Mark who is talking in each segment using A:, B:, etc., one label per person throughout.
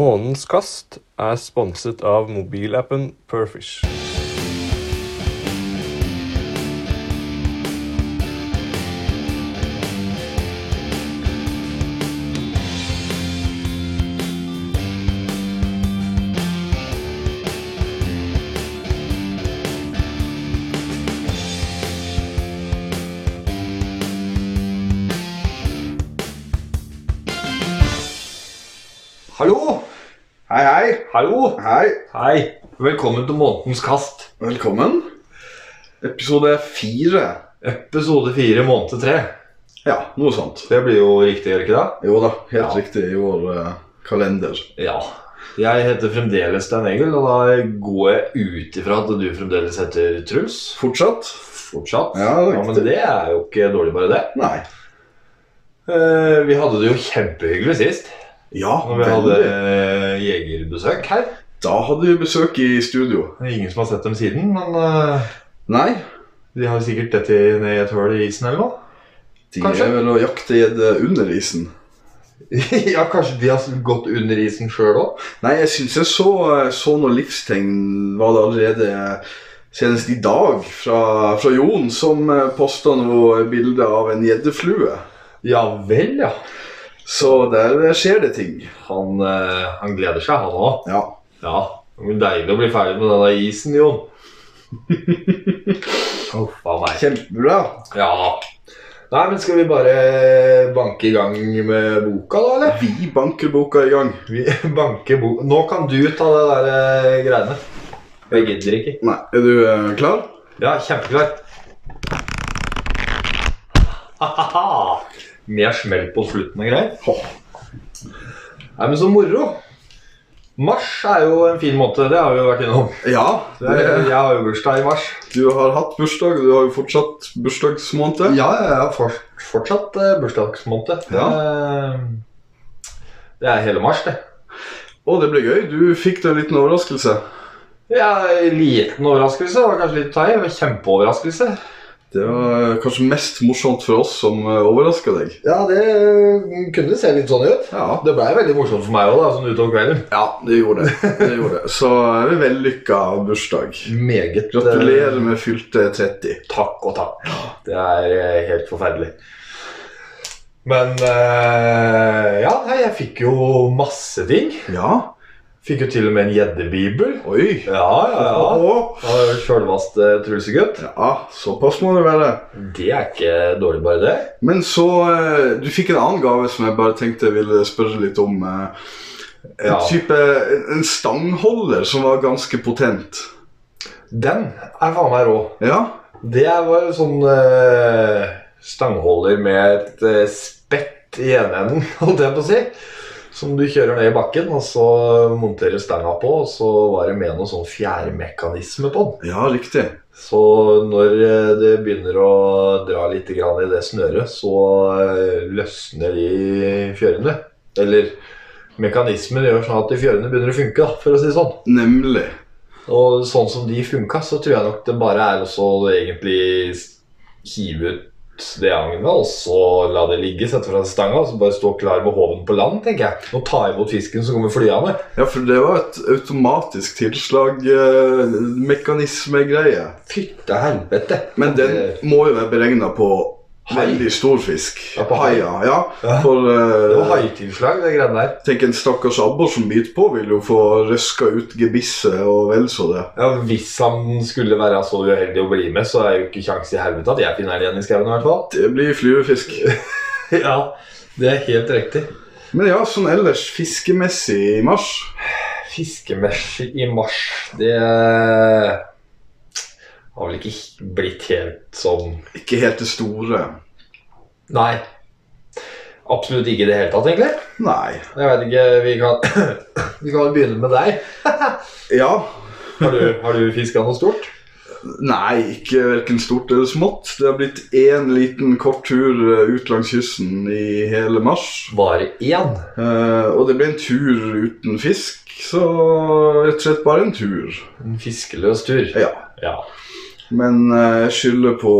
A: Månens kast er sponset av mobilappen Perfish.
B: Hallo!
C: Hei, hei.
B: Hallo!
C: Hei.
B: Hei! Velkommen til Månedens kast.
C: Velkommen. Episode fire.
B: Episode fire, måned tre.
C: Ja, noe sånt.
B: Det blir jo riktig, gjør det ikke
C: Jo da, helt
B: Ja.
C: riktig i vår eh, kalender.
B: det? Ja. Jeg heter fremdeles Stein Egil, og da går jeg ut ifra at du fremdeles heter Truls.
C: Fortsatt?
B: Fortsatt.
C: Ja, riktig.
B: men det er jo ikke dårlig, bare det.
C: Nei.
B: Eh, Vi hadde det jo kjempehyggelig sist,
C: Ja,
B: når vi
C: veldig.
B: hadde eh, jegerbesøk her.
C: Da hadde vi besøk i studio.
B: Det er ingen som har sett dem siden, men eh,
C: Nei,
B: de har sikkert dette i- ned i et hull i isen eller noe.
C: de
B: Kanskje.
C: er vel å jakte gjedde under isen.
B: ja, kanskje de har gått under isen sjøl òg?
C: Nei, jeg syns jeg så, eh, så noen livstegn var det allerede eh, senest i dag fra, fra Jon, som posta noe bilde av en gjeddeflue.
B: Ja vel, ja.
C: Så der eh, skjer det ting.
B: Han, eh, han gleder seg, han òg.
C: Ja.
B: Ja. Det blir deilig å bli ferdig med denne isen, Jon. Huff a meg.
C: Kjempebra.
B: Ja. Nei, men skal vi bare banke i gang med boka, da, eller?
C: Vi banker boka i gang.
B: Vi banker bo Nå kan du ta det der eh, greiene. Jeg gidder ikke.
C: Nei, Er du eh, klar?
B: Ja, kjempeklart. Ha-ha-ha. Mer smell på slutten og greier.
C: Hå.
B: Nei, men så moro. Mars er jo en fin måte. Det har vi jo vært innom.
C: Ja.
B: Det er, jeg har jo bursdag i mars.
C: Du har hatt bursdag, og du har jo fortsatt bursdagsmåned.
B: Ja, jeg har for, fortsatt eh, bursdagsmåned.
C: Ja.
B: Eh, det er hele mars, det.
C: Og det ble gøy. Du fikk deg en liten overraskelse.
B: Ja, Liten overraskelse. Det var kanskje litt tøy. men Kjempeoverraskelse.
C: Det var eh, kanskje mest morsomt for oss som overraska deg.
B: Ja, det kunne se litt sånn ut.
C: Ja.
B: Det blei veldig morsomt for meg òg, sånn utover kvelden.
C: ja, det gjorde det. det, gjorde det. Så en vellykka bursdag.
B: Meget.
C: Gratulerer med fylte 30.
B: Takk og takk. Det er eh, helt forferdelig. Men eh, ja, nei, jeg fikk jo masse ting.
C: Ja.
B: Fikk jo til og med en gjeddebibel.
C: Oi.
B: Ja, ja, ja.
C: Å,
B: Og Sjølvaste trusegutt.
C: ja. Såpass må det være.
B: Det er ikke dårlig, bare det.
C: Men så eh, Du fikk en annen gave som jeg bare tenkte jeg ville spørre litt om. eh, En
B: Ja.
C: type en- En stangholder som var ganske potent.
B: Den er faen meg rå.
C: Ja.
B: Det var en sånn eh, stangholder med et eh, spett i ene enden, holdt jeg på å si. Som du kjører ned i bakken, og så monterer stanga på, og så var det med noe sånn fjærmekanisme på den.
C: Ja, riktig.
B: Så når eh, det begynner å dra litt grann i det snøret, så eh, løsner de fjørene. Eller mekanismen gjør sånn at de fjørene begynner å funke, da, for å si det sånn.
C: Nemlig.
B: Og sånn som de funka, så tror jeg nok det bare er også å egentlig hive ut det agnet, og så la det ligge, sette fra seg stanga, og så bare stå klar med håven på land, tenker jeg. Og ta imot fisken som kommer flyende.
C: Ja, for det var et automatisk eh, tilslagmekanismegreie.
B: Fytte helvete!
C: Men den må jo være beregna på
B: Hai.
C: veldig stor fisk.
B: Ja, på hai.
C: Haia, ja.
B: Ja.
C: For
B: Det var
C: eh,
B: haitilslag, det greiene der.
C: tenk en stakkars abbor som biter på, vil jo få røska ut gebisset og vel så det.
B: Ja, Hvis han skulle være så uheldig å bli med, så er jo ikke kjangs i helvete at jeg finner den igjen i skauen, i hvert fall.
C: Det blir fluefisk.
B: Ja, det er helt riktig.
C: Men ja, sånn ellers fiskemessig i mars
B: Fiskemesj i mars, det har vel ikke blitt helt sånn
C: Ikke helt det store.
B: Nei. Absolutt ikke i det hele tatt, egentlig.
C: Nei.
B: Jeg vet ikke, Vi kan Vi kan jo begynne med deg.
C: Ja.
B: Har du, har du fiska noe stort?
C: Nei, ikke verken stort eller smått. Det har blitt én liten kort tur eh, ut langs kysten i hele mars.
B: Bare én.
C: Eh, og det ble en tur uten fisk, så rett og slett bare en tur.
B: En fiskeløs tur.
C: Ja.
B: Ja.
C: Men eh, jeg skylder på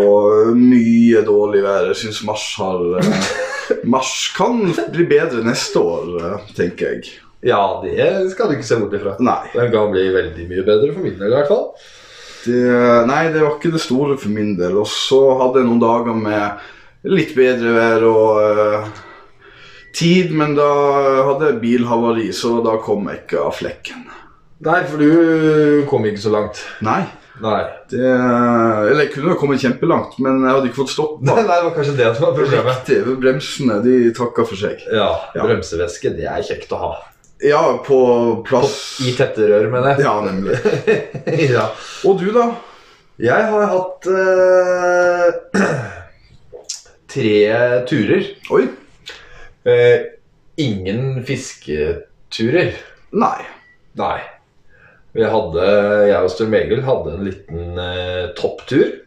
C: mye dårlig vær. Jeg syns mars har eh, Mars kan bli bedre neste år, eh, tenker jeg.
B: Ja, det skal du ikke se bort ifra.
C: Nei.
B: Den kan bli veldig mye bedre for min del, i hvert fall.
C: Det, nei, det var ikke det store for min del. Og så hadde jeg noen dager med litt bedre vær og eh, tid, men da hadde jeg bilhavari, så da kom jeg ikke av flekken.
B: Nei, for du kom ikke så langt.
C: Nei.
B: Nei.
C: Det, eller jeg kunne jo kommet kjempelangt, men jeg hadde ikke fått
B: Nei,
C: stoppa.
B: det var kanskje det som var problemet.
C: Riktig. Bremsene de takka for seg.
B: Ja,
C: Ja.
B: Bremsevæske, det er kjekt å ha.
C: Ja, på
B: På,
C: plass
B: I tette rør, mener jeg.
C: Ja, nemlig.
B: ja.
C: Og du, da?
B: Jeg har hatt eh, tre turer.
C: Oi.
B: Eh, ingen fisketurer.
C: Nei.
B: Nei. Vi hadde, jeg og Stor Egil hadde en liten eh, topptur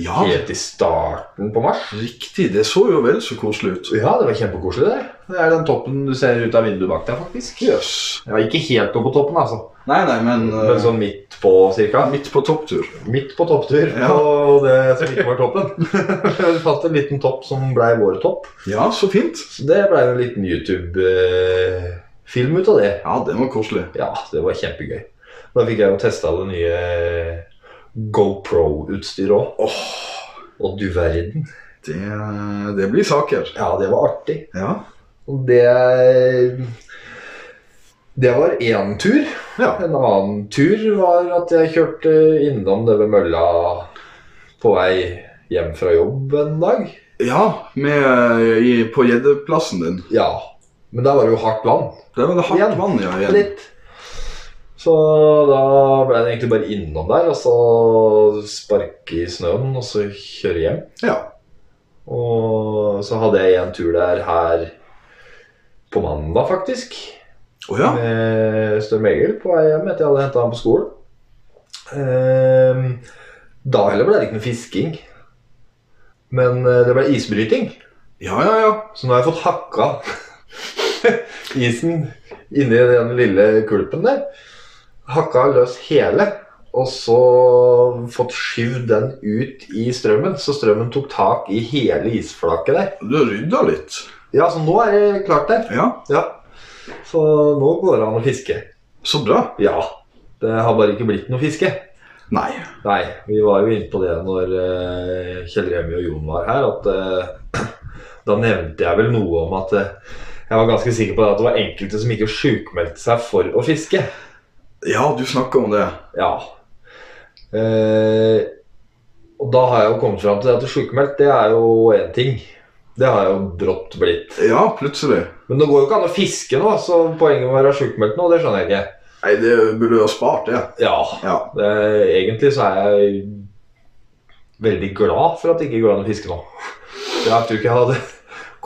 C: Ja,
B: helt i starten på mars.
C: riktig. Det så jo vel så koselig ut.
B: Ja, det var kjempekoselig, det. Det er den toppen du ser ut av vinduet bak deg, faktisk.
C: Jøss.
B: Ja, ikke helt oppe på toppen, altså.
C: Nei, nei, men,
B: Men sånn midt på, cirka.
C: eh, midt på topptur.
B: Midt på topptur.
C: Ja.
B: Og det som ikke var toppen. Vi fant en liten topp som blei vår topp.
C: Ja, så fint.
B: Så det blei en liten YouTube-film ut av det.
C: Ja, det var koselig.
B: Ja, det var kjempegøy. Da fikk jeg jo testa det nye eh, GoPro-utstyret òg.
C: Åh,
B: Og du verden.
C: det, det blir saker.
B: Ja, det var artig.
C: Ja.
B: Og det Det var én tur.
C: Ja.
B: En annen tur var at jeg kjørte innom det ved mølla på vei hjem fra jobb en dag.
C: ja med, eh, i, på gjeddeplassen din.
B: Ja. Men der var det jo hardt vann.
C: Der var det hardt
B: Igjen.
C: vann, ja. Igjen.
B: Litt. Så da ble jeg egentlig bare innom der, og så sparke i snøen, og så kjøre hjem.
C: Ja.
B: Og så hadde jeg en tur der her på mandag, faktisk.
C: Å ja.
B: Med Storm Egil på vei hjem etter jeg hadde henta ham på skolen. Ehm, da heller ble det ikke noe fisking. Men eh, det ble isbryting.
C: Ja, ja, ja.
B: Så nå har jeg fått hakka isen inni den lille kulpen der. Hakka løs hele, og så fått skyvd den ut i strømmen. Så strømmen tok tak i hele isflaket der.
C: Du har rydda litt.
B: Ja, så nå er det klart der.
C: Ja,
B: Ja. Så nå går det an å fiske.
C: så bra.
B: Ja. Det har bare ikke blitt noe fiske.
C: Nei.
B: Nei, vi var jo inne på det når eh, Kjell Remi og Jon var her, at eh, da nevnte jeg vel noe om at eh, jeg var ganske sikker på det at det var enkelte som ikke sjukmeldte seg for å fiske.
C: Ja, du snakka om det.
B: Ja. Eh, og da har jeg jo kommet fram til det at sjukmeldt, det er jo én ting. Det har jeg jo brått blitt.
C: Ja, plutselig.
B: Men det går jo ikke an å fiske nå, så poenget med å være sjukmeldt nå, det skjønner jeg ikke.
C: Nei, det burde du ha spart, det.
B: Ja,
C: Ja.
B: Det, egentlig så er jeg veldig glad for at det ikke går an å fiske nå. Jeg tror ikke jeg hadde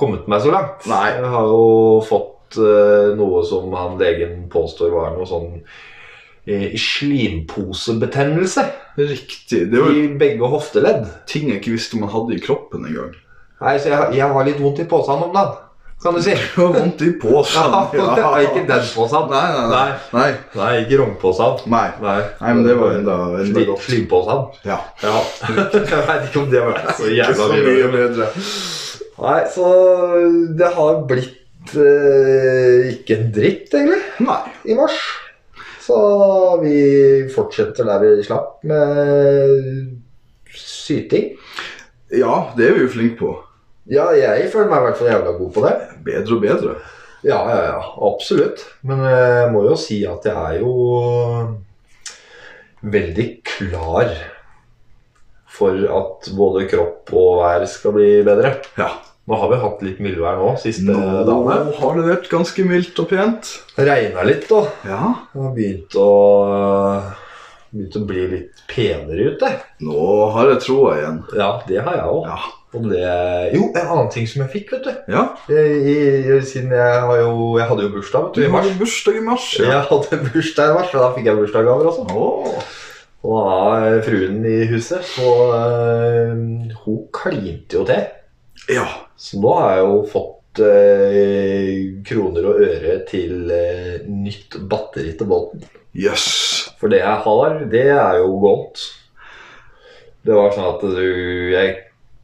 B: kommet meg så langt.
C: Nei.
B: Jeg har jo fått eh, noe som han legen påstår var noe sånn eh, slimposebetennelse
C: Riktig. Det var
B: i begge hofteledd.
C: ting jeg ikke visste man hadde i kroppen engang.
B: Nei, så jeg, jeg har litt vondt i posen om dagen, kan du si.
C: Du har vondt i posen.
B: Ja, ikke den posen.
C: Nei, nei, nei. Nei,
B: Nei, ikke rognposen.
C: nei.
B: Nei.
C: nei men det var enda, enda
B: Slim-
C: godt.
B: Slimposen.
C: Ja.
B: Ja. jeg veit ikke om det var så
C: Ikke
B: jævla
C: så
B: mye.
C: mye bedre.
B: Nei, så det har blitt eh, ikke en dritt, egentlig,
C: Nei.
B: i mars. Så vi fortsetter der vi slapp, med syting.
C: Ja, det er vi jo flinke på.
B: Ja, jeg føler meg i hvert fall jævla god på det.
C: Bedre og bedre.
B: Ja, ja, ja, absolutt. Men jeg må jo si at jeg er jo veldig klar for at både kropp og vær skal bli bedre.
C: Ja.
B: Nå har vi hatt litt mildvær nå, siste
C: Nå
B: dagene.
C: har det vært ganske mildt og pent.
B: Regna litt, da.
C: Ja.
B: Det har begynt å, eh, begynt å bli litt penere ute.
C: Nå har jeg troa igjen.
B: Ja, det har jeg òg.
C: Ja.
B: Og det Jo, en annen ting som jeg fikk, vet du.
C: ja.
B: I, i, siden jeg har jo Jeg hadde jo bursdag, vet
C: Du
B: du, i mars.
C: har bursdag i mars.
B: Jeg hadde bursdag i mars, og da fikk jeg bursdagsgaver også.
C: Åh.
B: Og da eh, fruen i huset, så eh, Hun klinte jo til.
C: ja.
B: Så nå har jeg jo fått eh, kroner og øre til eh, nytt batteri til båten.
C: Jøss.
B: For det jeg har, det er jo godt. Det var sånn at du Jeg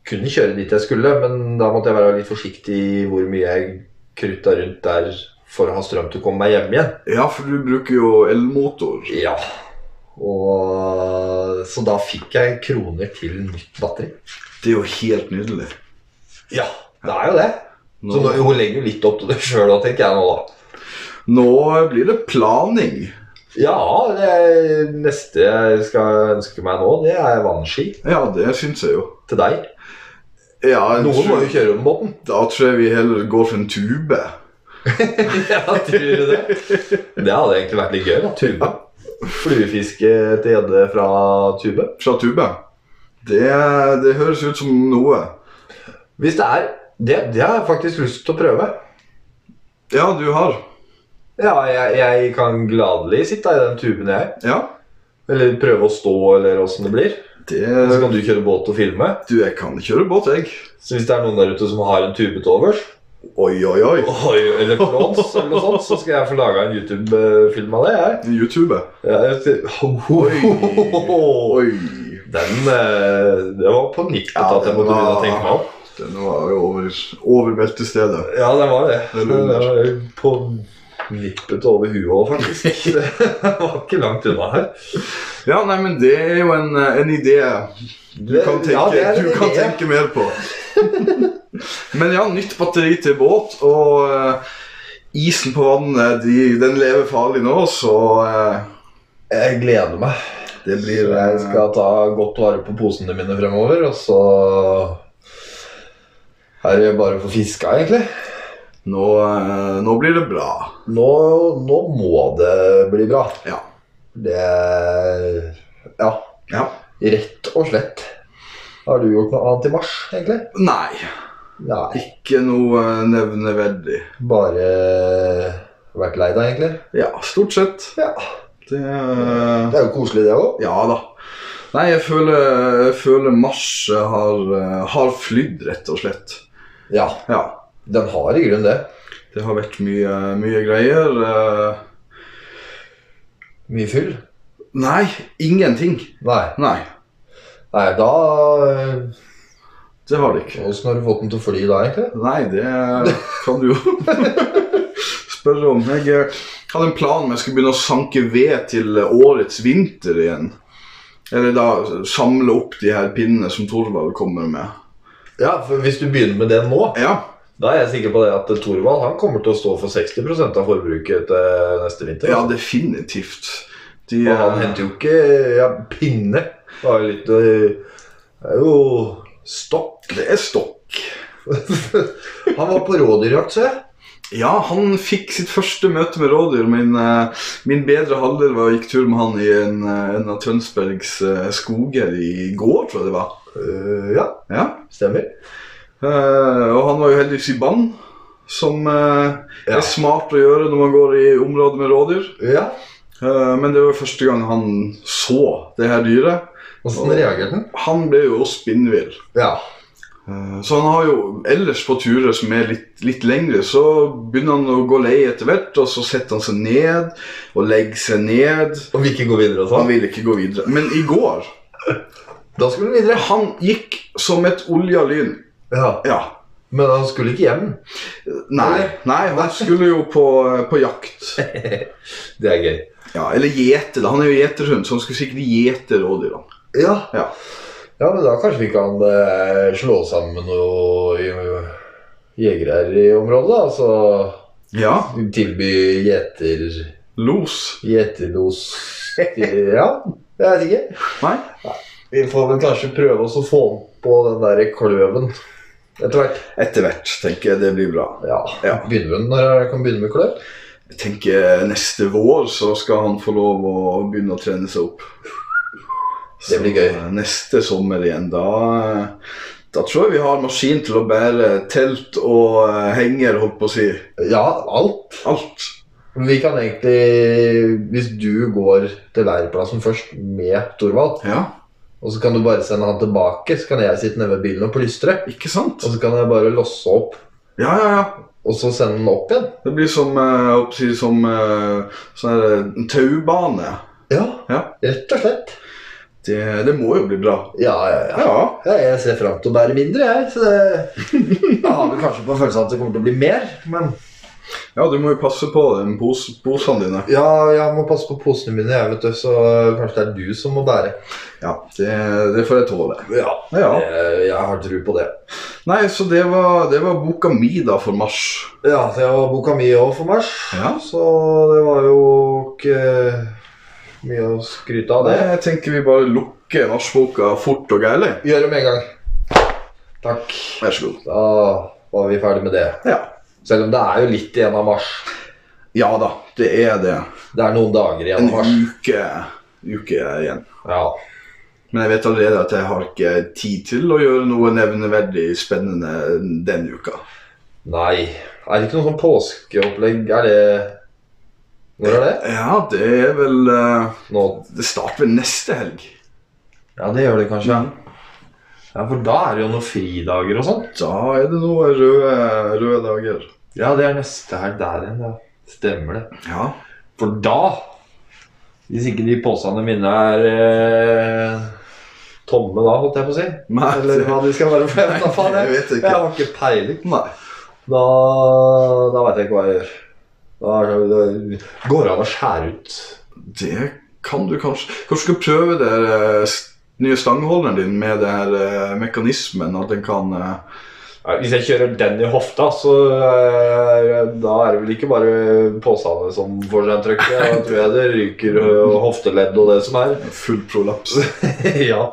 B: kunne kjøre dit jeg skulle, men da måtte jeg være litt forsiktig i hvor mye jeg krutta rundt der for å ha strøm til å komme meg hjem igjen.
C: Ja, for du bruker jo elmotor.
B: Ja. Og, så da fikk jeg kroner til nytt batteri.
C: Det er jo helt nydelig.
B: Ja, det er jo det. Så
C: Nå,
B: nå- hun legger jo litt opp til det sjøl òg, tenker jeg nå, da.
C: nå blir det planing.
B: Ja, det neste jeg skal ønske meg nå, det er vannski
C: Ja, det syns jeg jo.
B: til deg.
C: Ja, jeg
B: Noen må
C: tror,
B: jo kjøre om båten.
C: da tror jeg vi heller går for en tube.
B: Ja, tror du det? Det hadde egentlig vært litt gøy. da, Tube. Fluefiske til gjedde fra tube.
C: Fra tube. Det, det høres ut som noe.
B: Hvis det er Det, det har jeg faktisk lyst til å prøve.
C: Ja, du har.
B: Ja, jeg, jeg kan gladelig sitte i den tuben, jeg.
C: Ja.
B: Eller prøve å stå, eller åssen det blir.
C: Det,
B: Og Så kan du kjøre båt og filme.
C: du, jeg kan kjøre båt, jeg.
B: Så hvis det er noen der ute som har en tube til overs,
C: Oi, oi, oi.
B: oi, eller plons, eller noe sånt, så skal jeg få laga en YouTube-film av det, jeg.
C: YouTube.
B: Ja, jeg sier-
C: Oi.
B: Den eh, Det var på nippet
C: Ja,
B: at jeg
C: den
B: måtte begynne
C: var-
B: å tenke meg om.
C: Den var jo over, over beltestedet.
B: Ja, den var det.
C: Den
B: Den
C: lå der.
B: var jo på nippet over huet òg, faktisk. Det var ikke langt unna her.
C: Ja, nei, men det er jo en, eh, en idé du kan tenke,
B: ja, det er en
C: du kan
B: idé.
C: tenke mer på. men ja, nytt batteri til båt, og eh, isen på vannet de, den lever farlig nå, så eh,
B: Jeg gleder meg.
C: det blir
B: Så
C: eh,
B: Jeg skal ta godt vare på posene mine fremover, og så er det bare å få fiska, egentlig.
C: nå, eh, nå blir det bra.
B: Nå, nå må det bli bra.
C: Ja.
B: Det Ja.
C: Ja.
B: Rett og slett. Har du gjort noe annet i mars, egentlig?
C: Nei,
B: Nei.
C: ikke noe eh, nevneverdig.
B: Bare vært lei deg, egentlig?
C: Ja, stort sett.
B: Ja.
C: Det, eh,
B: Det er jo koselig, det òg.
C: Ja da. Nei, jeg føler, jeg føler Mars eh, har, eh, har flydd, rett og slett.
B: Ja.
C: Ja.
B: Den har i grunnen det.
C: Det har vært mye, mye greier. eh.
B: Mye fyll.
C: Nei, ingenting.
B: Nei.
C: Nei,
B: Nei, da
C: det har det ikke.
B: Åssen har du fått den til å fly da, egentlig?
C: Nei, det kan du jo spørre om. Jeg eh, hadde en plan om jeg skulle begynne å sanke ved til årets vinter igjen. Eller da samle opp de her pinnene som Thorvald kommer med.
B: Ja, for Hvis du begynner med den nå,
C: Ja,
B: da er jeg sikker på det at Thorvald han kommer til å stå for 60 av forbruket til neste vinter.
C: ja
B: altså.
C: definitivt. De,
B: Og han
C: eh,
B: henter jo ikke ja, pinne. Det er jo litt øh, Det er jo stokk.
C: det er stokk.
B: Han var på rådyrjakt, ser jeg.
C: Ja, han fikk sitt første møte med rådyr. Min, eh, min bedre halvdel var og gikk tur med han i en, eh, en av Tønsbergs eh, skoger i går, tror jeg det var.
B: Øh, ja,
C: Ja.
B: stemmer.
C: Eh, og han var jo heldigvis i band, som eh,
B: Ja.
C: er smart å gjøre når man går i områder med rådyr.
B: Ja,
C: Eh, men det var jo første gang han så det her dyret.
B: Åssen reagerte han?
C: Han ble jo spinnvill.
B: Ja.
C: Eh, Så han har jo ellers på turer som er litt, litt lengre, så begynner han å gå lei etter hvert, og så setter han seg ned og legger seg ned.
B: Og vil ikke gå videre og
C: Han
B: sånn?
C: ville ikke gå videre. Men i går
B: Da skulle han videre.
C: Han gikk som et olja lyn.
B: Ja,
C: Ja.
B: Men han skulle ikke hjem.
C: Nei, nei, han skulle jo på, eh, på jakt.
B: Det er gøy.
C: Ja, Eller gjete. da. Han er jo gjeterhund, så han skulle sikkert gjete rådyrene.
B: Ja.
C: Ja.
B: Ja, men da kanskje vi kan eh, slå sammen noen jegere her i området, da. Altså
C: Ja.
B: tilby gjeter...
C: Los.
B: Gjeterlos Ja, jeg vet ikke.
C: Nei.
B: Vi får vel kanskje prøve oss å få den på den der kløven etter hvert.
C: Etter hvert, tenker jeg. Det blir bra.
B: Ja.
C: Ja.
B: Begynner vi når jeg kan begynne med kløv?
C: Jeg tenker eh, neste vår så skal han få lov å begynne å trene seg opp.
B: Det blir gøy.
C: Så, eh, neste sommer igjen, da eh, Da tror jeg vi har maskin til å bære telt og eh, henger, holdt på å si.
B: Ja, alt.
C: Alt.
B: Vi kan egentlig, hvis du går til leirplassen først med Thorvald,
C: Ja,
B: og så kan du bare sende han tilbake, så kan jeg sitte nede ved bilen og plystre.
C: ikke sant?
B: Og så kan jeg bare losse opp,
C: Ja, ja, ja.
B: og så sende den opp igjen.
C: Det blir som, eh, holdt på å si, som eh, sånn her, eh, en taubane.
B: Ja,
C: Ja.
B: rett og slett.
C: Det, det må jo bli bra.
B: Ja, ja, ja.
C: Ja.
B: Ja, Jeg ser fram til å bære mindre, jeg. Så det jeg har vel kanskje på følelsen at det kommer til å bli mer, men
C: Ja, du må jo passe på den pos posene dine.
B: Ja, jeg må passe på posene mine, jeg, vet du, så kanskje det er du som må bære.
C: Ja, det, det får jeg tåle.
B: Ja, Eh,
C: Ja.
B: Jeg, jeg har tro på det.
C: Nei, så det var, det var boka mi da for mars.
B: Ja, det var boka mi òg for mars,
C: Ja.
B: så det var jo ikke mye å skryte av,
C: Nei,
B: det.
C: jeg tenker vi bare lukker marsboka fort og gærlig.
B: Gjør det med en gang. Takk.
C: Vær så god.
B: Da var vi ferdig med det.
C: Ja.
B: Selv om det er jo litt igjen av mars.
C: ja da, det er det.
B: Det er noen dager igjen
C: En
B: av mars.
C: uke, uke igjen.
B: Ja.
C: Men jeg vet allerede at jeg har ikke tid til å gjøre noe nevneverdig spennende den uka.
B: Nei. Er det ikke noe sånn påskeopplegg? Er det Når er det?
C: Ja, det er vel eh,
B: Nå
C: Det starter vel neste helg.
B: Ja, det gjør det kanskje.
C: Ja.
B: Ja, For da er det jo noen fridager og sånn.
C: Da er det noen røde, røde dager.
B: Ja, det er neste helg der igjen, ja. Stemmer det.
C: Ja.
B: For da Hvis ikke de posene mine er eh, tomme da, holdt jeg på å si.
C: Nei,
B: Eller hva de skal være for jeg vet da faen.
C: Nei,
B: Jeg,
C: jeg vet ikke.
B: jeg har ikke peiling.
C: Nei.
B: Da, da veit jeg ikke hva jeg gjør. Da er det, det går det an å skjære ut.
C: Det kan du kanskje Kanskje du skal prøve det eh, s- nye stangholderen din med det her eh, mekanismen, at den kan eh,
B: Nei, Hvis jeg kjører den i hofta, så eh, da er det vel ikke bare posene som får seg en trøkk. Da tror jeg det ryker eh, hofteledd og det som er.
C: Full prolaps.
B: ja,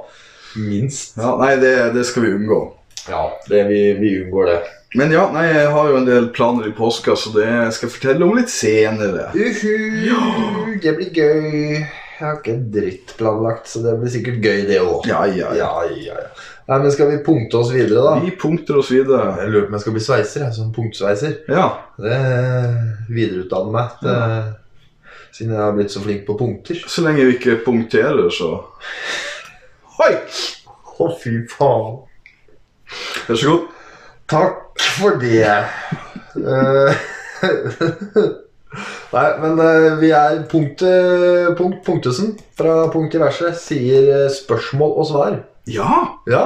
B: minst.
C: Ja, nei, det, det skal vi unngå.
B: Ja, det, vi, vi unngår det.
C: Men ja, nei, jeg har jo en del planer i påska, så det skal jeg fortelle om litt senere.
B: Uhu, det blir gøy. Jeg har ikke en dritt planlagt, så det blir sikkert gøy, det òg.
C: Ja, ja, ja.
B: Ja, ja, ja. Nei, men skal vi punkte oss videre, da?
C: Vi punkter oss videre.
B: Jeg lurer på om jeg skal bli sveiser, jeg, som punktsveiser.
C: Ja.
B: Det Videreutdanne meg til Siden jeg har blitt så flink på punkter.
C: Så lenge vi ikke punkterer, så Hoi!
B: Å, fy faen.
C: Vær så god.
B: Takk for det. Eh, Nei, men eh, vi er punktet, punkt, Punktesen fra Punkt i verset sier eh, spørsmål og svar.
C: Ja,
B: Ja.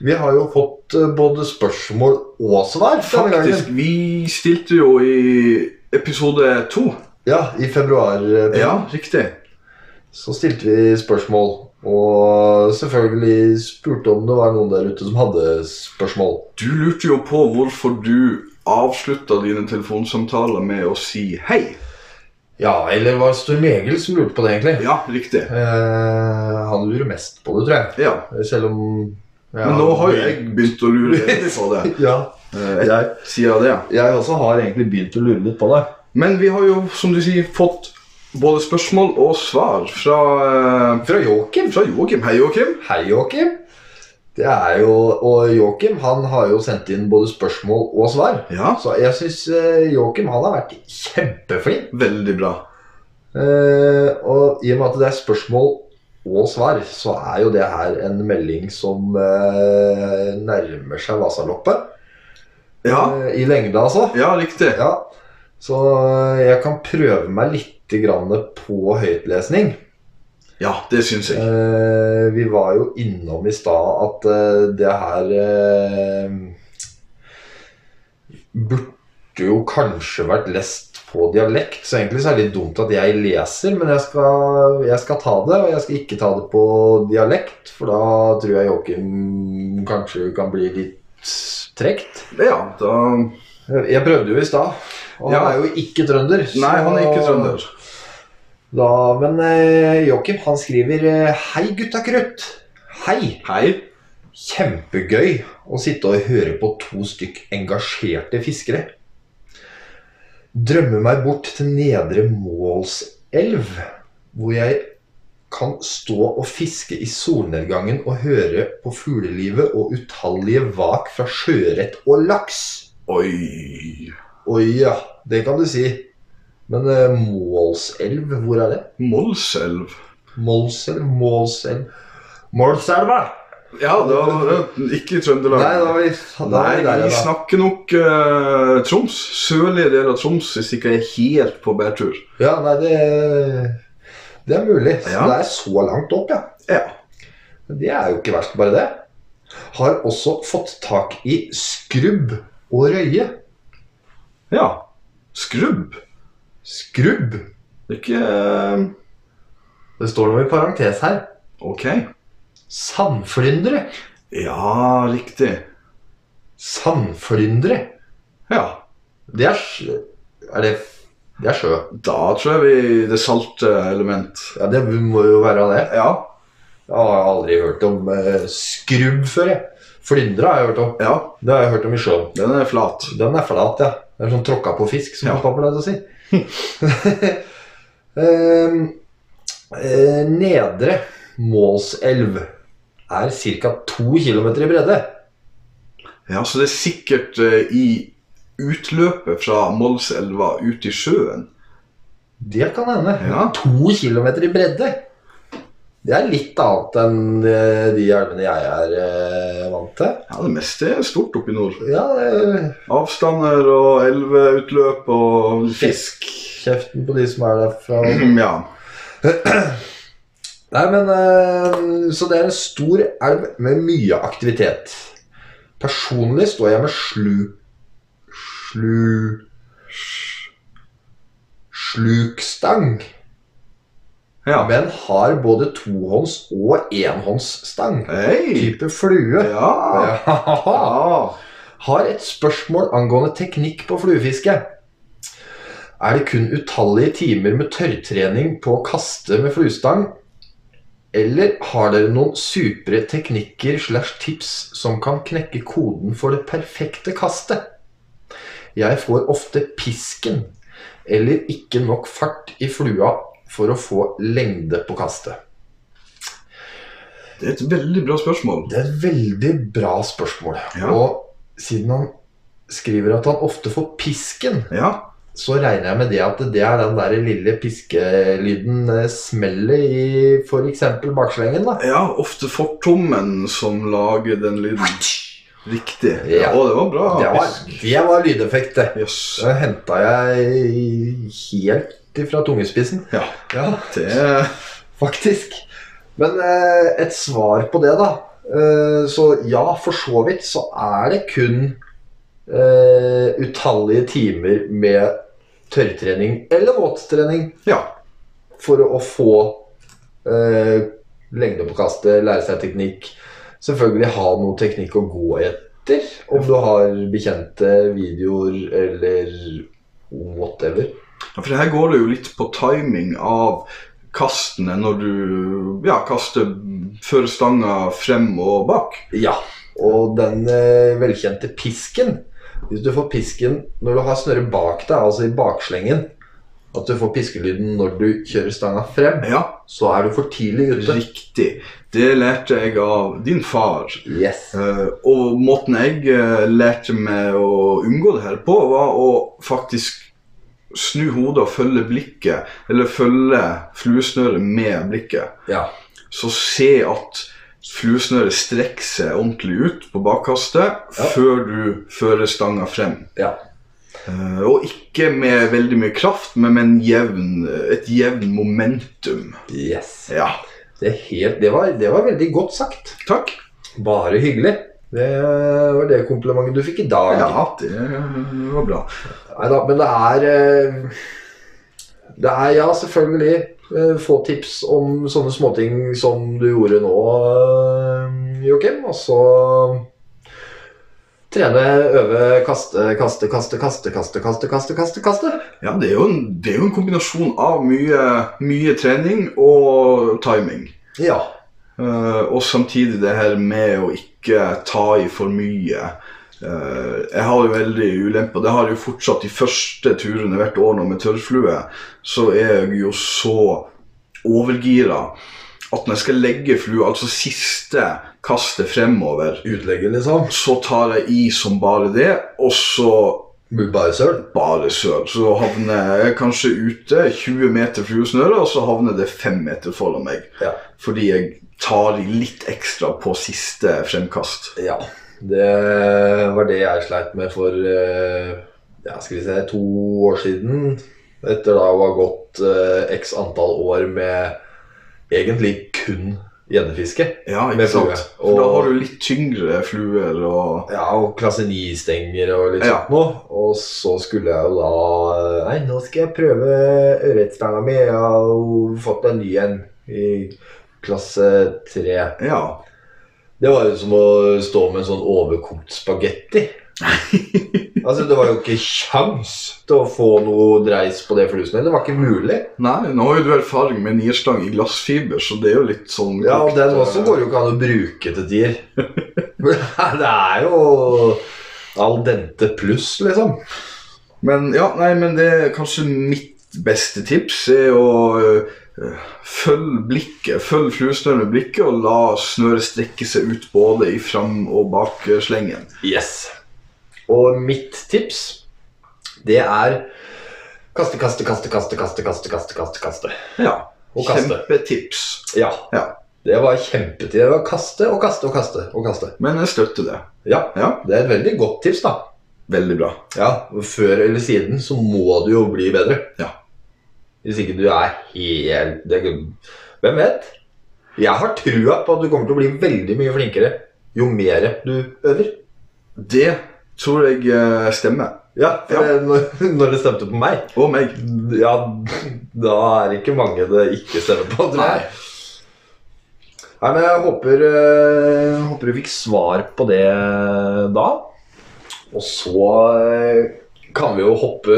B: Vi har jo fått eh, både spørsmål og svar. denne gangen.
C: faktisk. Vi stilte jo i episode to.
B: Ja, I februar eh,
C: Ja, riktig.
B: så stilte vi spørsmål. Og selvfølgelig spurte om det var noen der ute som hadde spørsmål.
C: Du lurte jo på hvorfor du avslutta dine telefonsamtaler med å si hei.
B: Ja, eller var det Storm Egil som lurte på det, egentlig?
C: Ja, riktig.
B: Eh, han lurer mest på det, tror jeg.
C: Ja.
B: Selv om ja,
C: Men nå har jo jeg begynt å lure litt på det.
B: Ja,
C: Eh,
B: jeg,
C: Siden det.
B: jeg også har egentlig begynt å lure litt på det.
C: Men vi har jo, som du sier, fått både spørsmål og svar fra, eh,
B: Fra Joakim.
C: fra Joakim. Hei, Joakim.
B: Hei, Joakim. Det er jo, og Joakim han har jo sendt inn både spørsmål og svar.
C: Ja,
B: Så jeg syns Joakim han har vært kjempeflink.
C: veldig bra.
B: Eh, og i og med at det er spørsmål og svar, så er jo det her en melding som eh, nærmer seg Vasaloppet.
C: Ja,
B: Eh, I lengde, altså.
C: ja riktig.
B: Ja. Så eh, jeg kan prøve meg litt grann på høytlesning.
C: Ja, det syns jeg.
B: Eh, vi var jo innom i stad at eh, det her eh, burde jo kanskje vært lest på dialekt, så egentlig så er det litt dumt at jeg leser, men jeg skal, jeg skal ta det, og jeg skal ikke ta det på dialekt, for da tror jeg Joakim kanskje kan bli litt tregt.
C: Ja, da
B: Jeg prøvde jo i stad, og
C: Ja.
B: han er jo ikke trønder. så-
C: Nei, han er ikke trønder.
B: Da, men eh, Joakim han skriver eh, Hei gutta krutt Hei,
C: Hei.
B: kjempegøy Å sitte og høre på to stykk engasjerte fiskere Drømmer meg bort til nedre Målselv Hvor jeg kan stå og fiske i solnedgangen Og høre på fuglelivet og utallige vak fra sjørett og laks
C: Oi.
B: Oi ja, det kan du si Men eh, Målselv, hvor er det?
C: Målselv.
B: Målselv, Målselv Målselva!
C: Ja, da ikke i Trøndelag.
B: Nei, da var vi, da var vi
C: Nei, vi
B: der, ja, da.
C: snakker nok eh, Troms. Sørlige del av Troms, hvis ikke jeg er helt på bærtur.
B: Ja, nei, det, det er mulig. Så
C: Ja.
B: Det er så langt opp, ja.
C: Ja.
B: Det er jo ikke verst, bare det. Har også fått tak i skrubb og røye.
C: ja. Skrubb?
B: Skrubb.
C: Det er ikke eh,
B: Det står noe i parentes her.
C: Ok.
B: Sandflyndre.
C: Ja, riktig.
B: Sandflyndre.
C: Ja.
B: Det er sjø... Er det Det er sjø.
C: Da tror jeg vi Det salte element.
B: Ja, det må jo være det.
C: Ja.
B: Jeg har aldri hørt om eh, skrubb før, jeg. Flyndre har jeg hørt om.
C: Ja.
B: Det har jeg hørt om i sjøen.
C: Den er flat.
B: Den er flat, ja. Det er sånn tråkka på fisk, som
C: Ja.
B: pappa pleide å si. Ehm, eh, nedre Målselv er ca. to kilometer i bredde.
C: Ja, så det er sikkert eh, i utløpet fra Målselva ut i sjøen.
B: Det kan hende.
C: Ja.
B: To kilometer i bredde! Det er litt annet enn eh, de elvene jeg er eh, vant til.
C: Ja, det meste er stort oppe i nord.
B: Ja, eh, det-
C: Avstander og elveutløp og fisk.
B: kjeften på de som er derfra.
C: Ja.
B: Nei, men eh, Så det er en stor elv med mye aktivitet. Personlig står jeg med slu... Slu... sj- Slukstang.
C: ja.
B: Men har både tohånds og enhåndsstang.
C: Hei!
B: Type flue.
C: Ja.
B: Ja.
C: ja.
B: Har et spørsmål angående teknikk på fluefiske. Er det kun utallige timer med tørrtrening på å kaste med fluestang? Eller har dere noen supre teknikker slash tips som kan knekke koden for det perfekte kastet? Jeg får ofte pisken eller ikke nok fart i flua for å få lengde på kastet.
C: Det er et veldig bra spørsmål.
B: Det er et veldig bra spørsmål.
C: Ja.
B: Og siden han skriver at han ofte får pisken,
C: Ja.
B: så regner jeg med det at det er den der lille piskelyden eh, smellet i f.eks. bakslengen. da.
C: ja, ofte fortommen som lager den lyden. Riktig. Ja.
B: Ja.
C: Å, det var bra.
B: Det var, det var lydeffekt, det.
C: Jøss.
B: Det henta jeg helt ifra tungespissen.
C: Ja.
B: Ja,
C: Det er
B: faktisk. Men eh, et svar på det, da. Eh, så ja, for så vidt så er det kun eh, utallige timer med tørrtrening eller våttrening
C: Ja.
B: for å få eh, lengde på kastet, lære seg teknikk. Selvfølgelig ha noe teknikk å gå etter om du har bekjente videoer eller whatever.
C: Ja, For her går det jo litt på timing av kastene når du ja, kaster før stanga frem og bak.
B: Ja, og den eh, velkjente pisken Hvis du får pisken når du har snøret bak deg, altså i bakslengen At du får piskelyden når du kjører stanga frem,
C: Ja,
B: så er du for tidlig ute.
C: riktig. Det lærte jeg av din far.
B: Yes.
C: Eh, og måten jeg eh, lærte meg å unngå det her på, var å faktisk snu hodet og følge blikket, eller følge fluesnøret med blikket.
B: Ja.
C: Så se at fluesnøret strekker seg ordentlig ut på bakkastet
B: Ja.
C: før du fører stanga frem.
B: ja.
C: Eh, og ikke med veldig mye kraft, men med en jevn, et jevn momentum.
B: Yes.
C: Ja.
B: Det, er helt, det, var, det var veldig godt sagt.
C: Takk.
B: Bare hyggelig. Det var det komplimentet du fikk i dag.
C: Ja, det var bra.
B: Neida, men det er eh, Det er ja, selvfølgelig eh, få tips om sånne småting som du gjorde nå, eh, Joakim. Og så trene, øve, kaste, kaste, kaste, kaste, kaste, kaste, kaste. kaste, kaste.
C: Ja, det er jo en, det er jo en kombinasjon av mye, mye trening og timing.
B: Ja.
C: Eh, og samtidig det her med å ikke ta i for mye. Eh, jeg har jo veldig ulempe, og det har jeg jo fortsatt de første turene hvert år nå med tørrflue, så er jeg jo så overgira at når jeg skal legge flua, altså siste kastet fremover,
B: Utlegge, liksom.
C: så tar jeg i som bare det, og så
B: Blir Bare søl.
C: bare sør. Så havner jeg kanskje ute 20 meter fluesnøre, og så havner det 5 meter foran meg.
B: Ja.
C: Fordi jeg tar i litt ekstra på siste fremkast.
B: ja. Det var det jeg sleit med for eh, ja, skal vi se, to år siden. Etter da å ha gått eh, x antall år med egentlig kun gjeddefiske.
C: Ja,
B: Med
C: ikke sant?
B: flue.
C: For da
B: Og-
C: har du litt tyngre fluer og
B: Ja, og klasse 9-stenger og litt
C: Ja.
B: sånt noe. Og så skulle jeg jo da eh, Nei, nå skal jeg prøve ørretsperna mi. Jeg har jo fått en ny en i klasse 3.
C: Ja.
B: Det var jo som å stå med en sånn overkokt spagetti. altså, det var jo ikke kjangs til å få noe dreis på det fluesnellet. Det var ikke mulig.
C: Nei, nå har jo du erfaring med nierstang i glassfiber, så det er jo litt sånn
B: Ja, og
C: kokt,
B: den også går jo ikke an å bruke til tider. Men det er jo al dente pluss, liksom.
C: Men ja, nei, men det er kanskje mitt beste tips er å øh, følge blikket, følg fluesnøret med blikket og la snøret strekke seg ut både i fram- og eh, bakslengen.
B: Yes. Og mitt tips, det er kaste, kaste, kaste, kaste, kaste, kaste, kaste, kaste, kaste.
C: Ja,
B: Og kaste.
C: kjempetips.
B: Ja.
C: Ja.
B: Det var kjempetid. Det var kaste og kaste og kaste og kaste.
C: Men jeg støtter det.
B: Ja,
C: Ja,
B: det er et veldig godt tips, da.
C: veldig bra.
B: Ja, og Før eller siden så må du jo bli bedre.
C: Ja.
B: Hvis ikke du er helt det, Hvem vet? Jeg har trua på at du kommer til å bli veldig mye flinkere jo mer du øver.
C: Det tror jeg eh, stemmer.
B: Ja, for
C: Ja.
B: det- Når, når det stemte på meg
C: Og meg.
B: Ja, da er det ikke mange det ikke stemmer på. Tror jeg. Nei, men jeg håper, eh, håper du fikk svar på det da. Og så eh, kan vi jo hoppe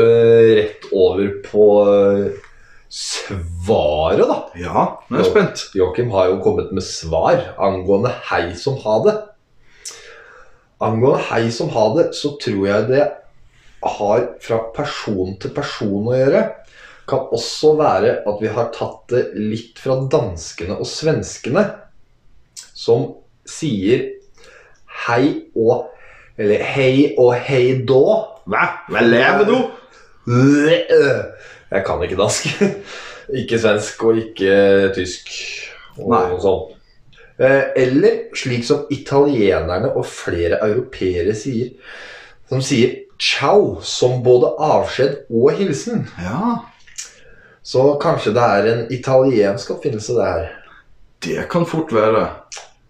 B: rett over på eh, svaret, da.
C: Ja, nå er jeg spent.
B: Joakim har jo kommet med svar angående hei som ha det. Angående hei som ha det, så tror jeg det har fra person til person å gjøre. Kan også være at vi har tatt det litt fra danskene og svenskene, som sier hei og Eller hei og hei då.
C: Hva? Hva lever du?
B: Jeg kan ikke dansk. Ikke svensk og ikke tysk. Og
C: Nei.
B: noe sånt. Eh, Eller slik som italienerne og flere europeere sier, som sier ciao som både avskjed og hilsen.
C: Ja,
B: Så kanskje det er en italiensk oppfinnelse, det her.
C: det kan fort være.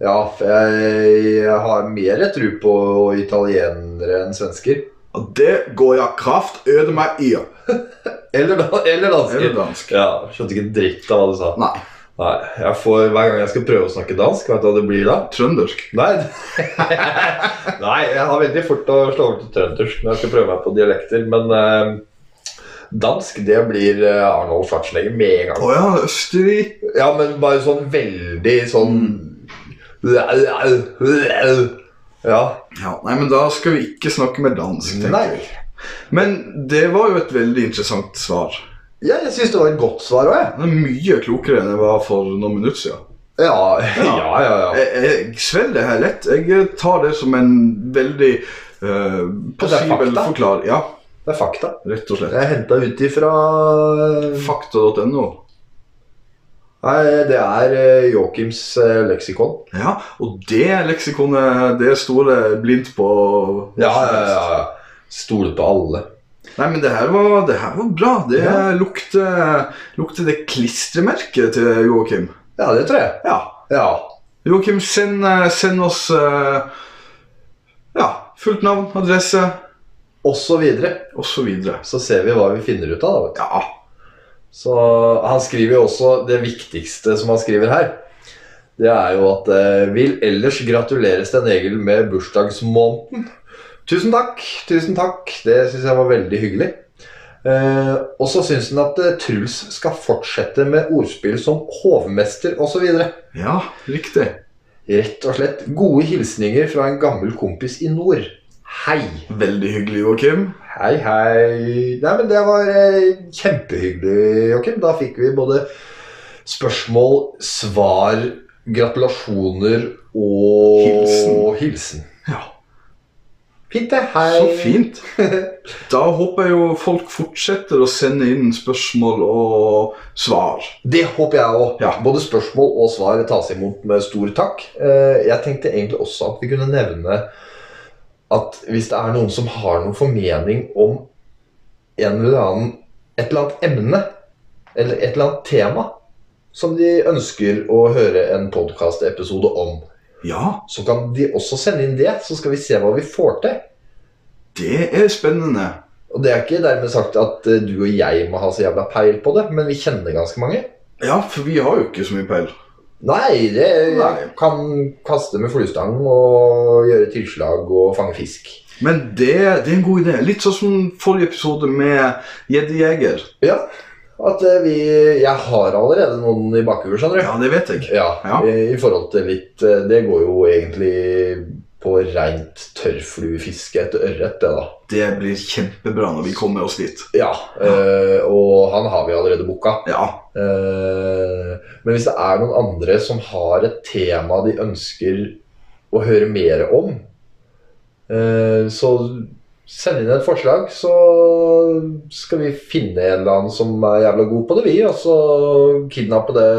B: Ja, for jeg, jeg har mer tro på italienere enn svensker.
C: Og det går jeg kraft øde meg i.
B: Eller, da- eller dansker.
C: Eller dansk.
B: Ja, skjønte ikke en dritt av hva du sa.
C: Nei,
B: Nei, jeg får, Hver gang jeg skal prøve å snakke dansk, vet du hva det blir da?
C: trøndersk.
B: Nei, Nei jeg har veldig fort å slå over til trøndersk når jeg skal prøve meg på dialekter. Men eh, dansk, det blir eh, Arnold Schwarzenegger med en
C: Å
B: gang.
C: ja, Østerrike.
B: Ja, men bare sånn veldig sånn Ja.
C: Ja, nei, men da skal vi ikke snakke mer dansk, tenker
B: Nei.
C: jeg. Men det var jo et veldig interessant svar.
B: Ja, jeg syns det var et godt svar òg, jeg.
C: Det er mye klokere enn jeg var for noen minutter siden.
B: Ja, ja, ja. ja.
C: Jeg, jeg svelger her lett. Jeg tar det som en veldig uh, possibel
B: fakta.
C: forklaring. Ja,
B: Det er fakta.
C: rett og slett.
B: Jeg henta ut ifra
C: Fakta.no.
B: Nei, det er eh, Joakims eh, leksikon.
C: Ja, og det leksikonet, det står jeg blindt på. hva
B: Ja,
C: som
B: ja,
C: helst.
B: ja. Stole på alle.
C: Nei, men det her var, det her var bra. Det
B: Ja.
C: lukter, lukter det klistremerket til Joakim.
B: Ja, det tror jeg.
C: Ja.
B: Ja.
C: Joakim, send, eh, send oss eh, Ja, fullt navn, adresse
B: Og så videre.
C: og så videre.
B: Så ser vi hva vi finner ut av. da, vet
C: Ja.
B: du. Så Han skriver jo også det viktigste som han skriver her. Det er jo at eh, Vil ellers gratulere Sten Egil med bursdagsmåneden. Tusen takk, tusen takk. Det syns jeg var veldig hyggelig. Eh, og så syns han at eh, Truls skal fortsette med ordspill som hovmester osv.
C: ja, riktig.
B: Rett og slett gode hilsninger fra en gammel kompis i nord. Hei!
C: Veldig hyggelig, Joakim.
B: Hei, hei. Nei, men det var eh, kjempehyggelig, Joakim. Da fikk vi både spørsmål, svar, gratulasjoner og
C: Hilsen.
B: hilsen.
C: Ja.
B: Fint, det. Hei.
C: Så fint. Da håper jeg jo folk fortsetter å sende inn spørsmål og svar.
B: Det håper jeg òg.
C: Ja.
B: Både spørsmål og svar tas imot med stor takk. Eh, Jeg tenkte egentlig også at vi kunne nevne at hvis det er noen som har noen formening om en eller annen, et eller annet emne eller et eller annet tema, som de ønsker å høre en podkastepisode om.
C: Ja,
B: Så kan de også sende inn det, så skal vi se hva vi får til.
C: det er spennende.
B: Og det er ikke dermed sagt at eh, du og jeg må ha så jævla peil på det, men vi kjenner ganske mange.
C: Ja, for vi har jo ikke så mye peil.
B: Nei, det
C: Nei.
B: kan kaste med fluestang og gjøre tilslag og fange fisk.
C: Men det, det er en god idé. Litt sånn som forrige episode med gjeddejeger.
B: Ja, at eh, vi Jeg har allerede noen i bakhuet, skjønner du.
C: Ja, det vet jeg.
B: Ja,
C: Ja.
B: I, i forhold til litt eh, Det går jo egentlig på rent tørrfluefiske etter ørret, det, da.
C: Det blir kjempebra når vi kommer oss dit.
B: Ja, eh, og han har vi allerede booka.
C: Ja,
B: Eh, Men hvis det er noen andre som har et tema de ønsker å høre mer om, eh, så send inn et forslag, så skal vi finne en eller annen som er jævla god på det, vi. Og så kidnappe det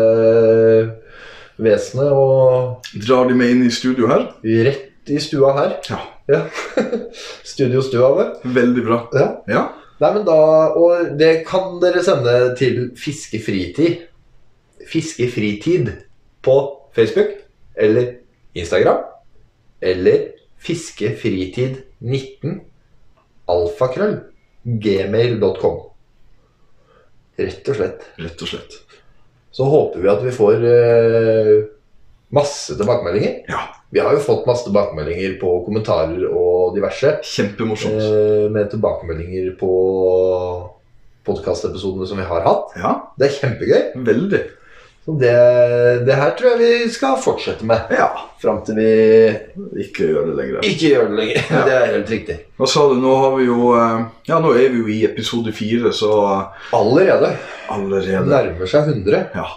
B: vesenet og
C: Drar de meg inn i studio her?
B: rett i stua her.
C: Ja.
B: ja. Studiostua vår.
C: Veldig bra.
B: Ja.
C: Ja,
B: Nei, men da, og det kan dere sende til Fiskefritid Fiskefritid på Facebook eller Instagram eller fiskefritid19 alfakrøll gmail.com Rett og slett.
C: rett og slett.
B: Så håper vi at vi får eh, masse tilbakemeldinger.
C: Ja,
B: Vi har jo fått masse tilbakemeldinger på kommentarer og diverse.
C: kjempemorsomt.
B: Eh, med tilbakemeldinger på podkastepisodene som vi har hatt.
C: Ja,
B: Det er kjempegøy.
C: veldig.
B: Så det, det her tror jeg vi skal fortsette med
C: Ja,
B: fram til vi
C: ikke gjør det lenger.
B: ikke gjør det lenger.
C: Ja.
B: Det er helt riktig.
C: Hva sa du, nå har vi jo eh, Ja, nå er vi jo i episode fire, så eh,
B: Allerede
C: allerede
B: nærmer seg 100
C: Ja.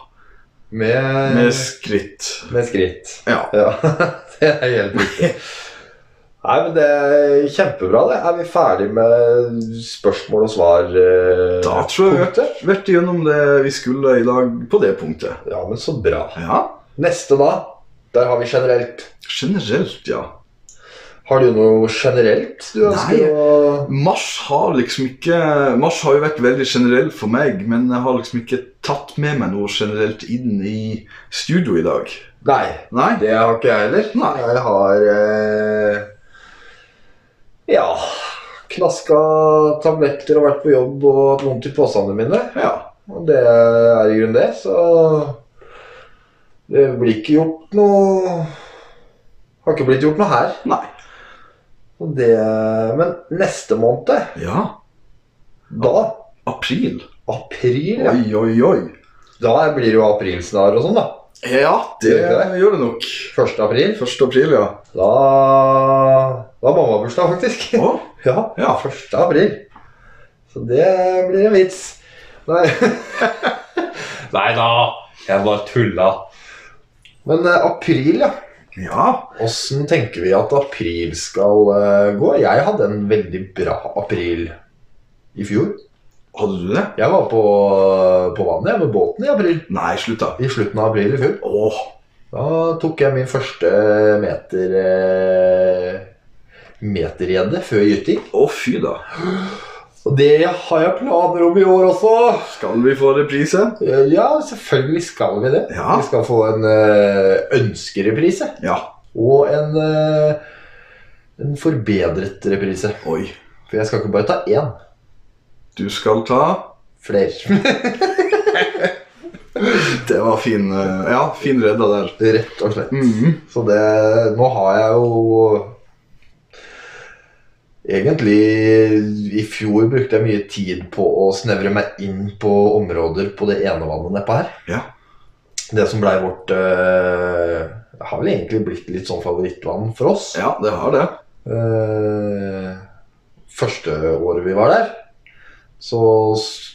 B: med,
C: Med skritt.
B: med skritt.
C: Ja.
B: Ja, det er helt riktig. Nei, men det er kjempebra, det. Er vi ferdig med spørsmål og svar? eh,
C: Da tror jeg vi
B: punktet?
C: har vært igjennom det vi skulle i dag på det punktet.
B: Ja, men så bra.
C: Ja.
B: Neste, da. Der har vi generelt.
C: Generelt, ja.
B: Har du noe generelt du ønsker
C: Nei.
B: å
C: Mars har liksom ikke Mars har jo vært veldig generell for meg, men jeg har liksom ikke tatt med meg noe generelt inn i studio i dag.
B: Nei,
C: Nei?
B: det har ikke jeg heller.
C: Nei.
B: Jeg har eh... Ja Knaska tabletter og vært på jobb og hatt vondt i posene mine.
C: Ja.
B: Og det er i grunnen det, så Det blir ikke gjort noe Har ikke blitt gjort noe her.
C: Nei.
B: Og det Men neste måned,
C: Ja.
B: da
C: April.
B: April, ja.
C: Oi, oi, oi.
B: Da blir det jo aprilsnar og sånn, da.
C: Ja, det
B: Det-
C: gjør det nok.
B: 1. april.
C: 1. april, ja.
B: Da Da er mamma bursdag, faktisk.
C: Å,
B: Ja,
C: ja.
B: 1. april. Så det blir en vits. Nei, Nei da. Jeg bare tulla. Men eh, april, ja.
C: Ja.
B: Åssen tenker vi at april skal eh, gå? Jeg hadde en veldig bra april i fjor.
C: Hadde du det?
B: Jeg var på, på vannet jeg, med båten i april.
C: Nei, slutt, da.
B: I slutten av april i fjor.
C: Åh,
B: Da tok jeg min første meter eh, metergjedde før gyting.
C: å fy, da.
B: Og det har jeg planer om i år også.
C: Skal vi få reprise?
B: Eh, Ja, selvfølgelig skal vi det.
C: Ja.
B: Vi skal få en eh, ønskereprise.
C: Ja.
B: Og en, eh, en forbedret reprise.
C: Oi.
B: For jeg skal ikke bare ta én.
C: Du skal ta
B: Flere.
C: Det var fin eh, Ja, fin redda der.
B: Rett og slett.
C: Mhm.
B: Så det Nå har jeg jo Egentlig I fjor brukte jeg mye tid på å snevre meg inn på områder på det ene vannet nedpå her.
C: Ja.
B: Det som blei vårt eh, Det har vel egentlig blitt litt sånn favorittvann for oss.
C: Ja, det har det.
B: Eh, første året vi var der, så s-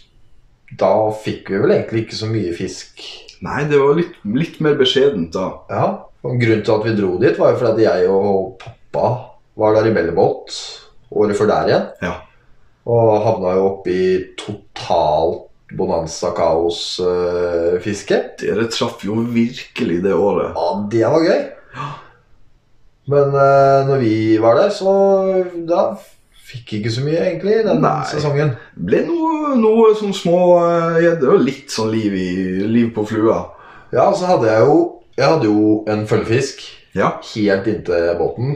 B: da fikk vi vel egentlig ikke så mye fisk
C: Nei, det var litt, litt mer beskjedent da.
B: Ja, og grunnen til at vi dro dit var jo fordi at jeg og pappa var der i Bellebåt året før der igjen.
C: Ja.
B: Og havna jo opp i totalt bonanza-kaos-fiske.
C: Dere traff jo virkelig det året.
B: eh, ja, det var gøy. Men eh, når vi var der, så da fikk jeg ikke så mye egentlig den
C: Nei.
B: sesongen.
C: Ble noe, noe sånn små eh, gjedder og litt sånn liv, i, liv på flua.
B: Ja, så hadde jeg jo Jeg hadde jo en følgefisk
C: Ja.
B: helt inntil båten.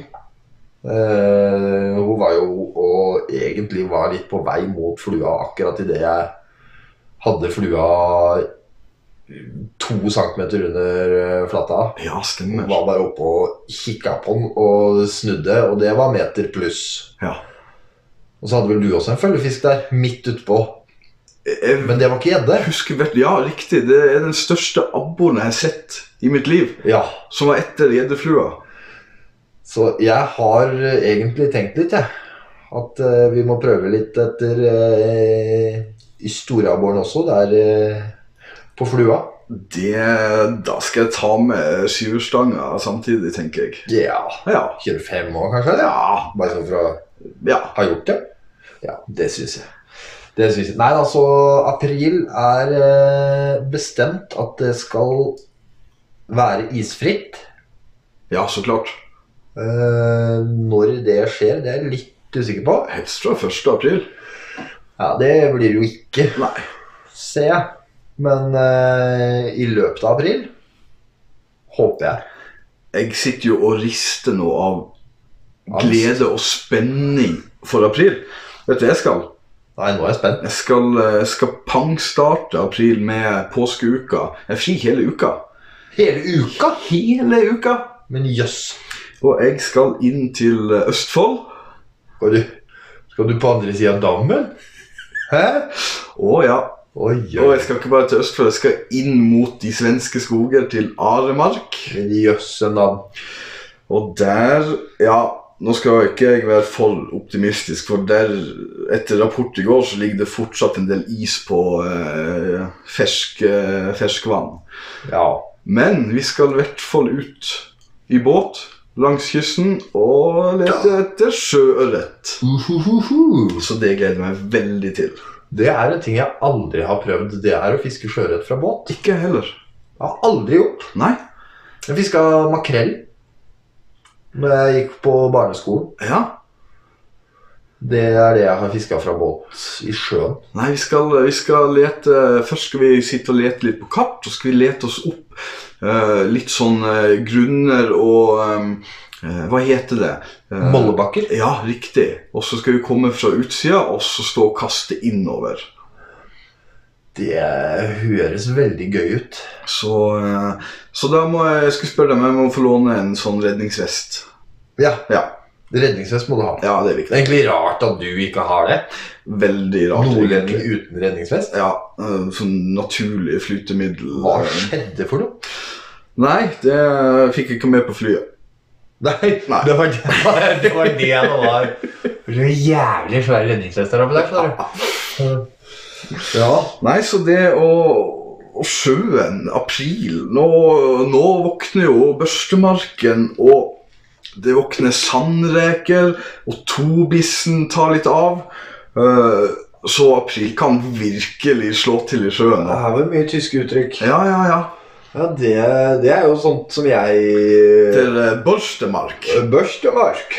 B: Eh, hun var jo og egentlig var litt på vei mot flua akkurat idet jeg hadde flua to centimeter under eh, flata.
C: Ja,
B: Hun
C: stemmer.
B: var bare oppe og kikka på den og snudde, og det var meter pluss.
C: Ja.
B: Og så hadde vel du også en følgefisk der, midt utpå.
C: Jeg,
B: Men det var ikke gjedde.
C: jeg husker vet, Ja, riktig. Det er den største abboren jeg har sett i mitt liv,
B: Ja.
C: som var etter gjeddeflua.
B: Så jeg har eh, egentlig tenkt litt, jeg. At eh, vi må prøve litt etter eh, i storabboren også, der eh, på flua.
C: Det Da skal jeg ta med syverstanga samtidig, tenker jeg.
B: Ja,
C: Ja.
B: 25 år kanskje? Ja.
C: Ja.
B: Bare sånn for å
C: ja.
B: ha gjort det? Ja, det syns jeg. Det syns jeg. Nei, altså, april er eh, bestemt at det skal være isfritt.
C: Ja, så klart.
B: Eh, når det skjer, det er jeg litt usikker på.
C: Helst fra 1. april.
B: Ja, det blir det jo ikke.
C: Nei.
B: ser jeg. Men eh, i løpet av april håper jeg.
C: Jeg sitter jo og rister nå av
B: Angst.
C: glede og spenning for april. Vet du hva jeg skal?
B: Nei, nå er jeg spent.
C: Jeg skal, eh, skal pangstarte april med påskeuka. Jeg er fri hele uka.
B: Hele uka!
C: Hele uka!
B: Men jøss.
C: Og jeg skal inn til eh, Østfold.
B: Skal, du, skal du på andre sida av dammen? Hæ?
C: Å ja.
B: Oi,
C: Og
B: oi.
C: jeg skal ikke bare til Østfold, jeg skal inn mot de svenske skoger, til Aremark.
B: Men jøsse navn.
C: Og der Ja, nå skal jo ikke jeg være for optimistisk, for der, etter rapport i går, så ligger det fortsatt en del is på eh, fersk, eh, ferskvann.
B: Ja.
C: Men vi skal i hvert fall ut i båt langs kysten og lete etter sjøørret.
B: Uhuhuhu.
C: Så det gleder jeg meg veldig til.
B: Det er en ting jeg aldri har prøvd. Det er å fiske sjøørret fra båt.
C: Ikke jeg heller.
B: Jeg har aldri gjort.
C: Nei.
B: Jeg fiska makrell da jeg gikk på barneskolen.
C: Ja.
B: Det er det jeg har fiska fra båt i sjøen.
C: Nei, vi skal, vi skal lete Først skal vi sitte og lete litt på kart, og så skal vi lete oss opp eh, litt sånn eh, grunner og eh, Hva heter det? Eh,
B: Mollebakker.
C: Ja, riktig. Og så skal vi komme fra utsida og så stå og kaste innover.
B: Det høres veldig gøy ut.
C: Så, eh, så da må jeg, jeg skulle spørre deg om jeg må få låne en sånn redningsvest.
B: Ja,
C: Ja,
B: redningsvest må du ha.
C: ja det er
B: Det
C: viktig.
B: er egentlig rart at du ikke har det.
C: Veldig rart.
B: Nordlending
C: egentlig.
B: uten redningsvest.
C: Ja, eh, sånn naturlig flytemiddel.
B: Hva skjedde for noe?
C: Nei, det fikk jeg ikke med på flyet.
B: Nei,
C: Nei.
B: det var det, det var det det var. Det var jævlig svære redningsvester oppi der. skjønner du. Ja.
C: Nei, så det å og sjøen, april Nå, nå våkner jo børstemarken, og det våkner sandreker, og tobissen tar litt av. Eh, Så april kan virkelig slå til i sjøen.
B: Det her var mye tyske uttrykk.
C: Ja, ja, ja.
B: Ja, det, det er jo sånt som jeg
C: Til eh, børstemark.
B: Børstemark.